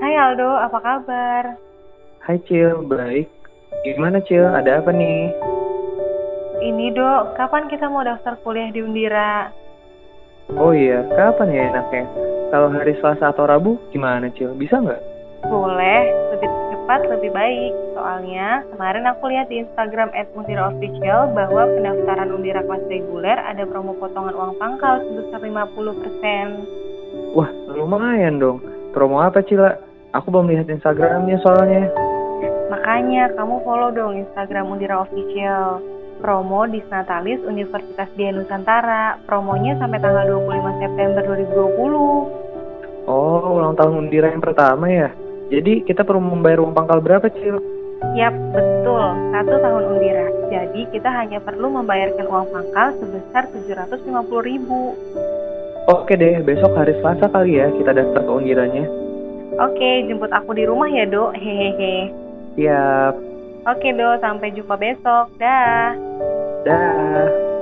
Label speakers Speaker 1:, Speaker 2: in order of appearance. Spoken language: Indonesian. Speaker 1: Hai Aldo, apa kabar?
Speaker 2: Hai Cil, baik. Gimana Cil, ada apa nih?
Speaker 1: Ini dok, kapan kita mau daftar kuliah di Undira?
Speaker 2: Oh iya, kapan ya enaknya? Kalau hari Selasa atau Rabu, gimana Cil? Bisa nggak?
Speaker 1: Boleh, lebih cepat lebih baik. Soalnya kemarin aku lihat di Instagram @undiraofficial bahwa pendaftaran Undira kelas reguler ada promo potongan uang pangkal sebesar 50%.
Speaker 2: Wah, lumayan dong. Promo apa Cila? Aku belum lihat Instagramnya soalnya.
Speaker 1: Makanya kamu follow dong Instagram Undira Official. Promo di Natalis Universitas Dian Nusantara. Promonya sampai tanggal 25 September 2020.
Speaker 2: Oh, ulang tahun Undira yang pertama ya. Jadi kita perlu membayar uang pangkal berapa Cil?
Speaker 1: Yap, betul. Satu tahun Undira. Jadi kita hanya perlu membayarkan uang pangkal sebesar 750 ribu.
Speaker 2: Oke deh, besok hari Selasa kali ya kita daftar ke Undiranya.
Speaker 1: Oke, jemput aku di rumah ya, Dok. Hehehe.
Speaker 2: Siap,
Speaker 1: Oke, Dok. Sampai jumpa besok. Dah.
Speaker 2: dah.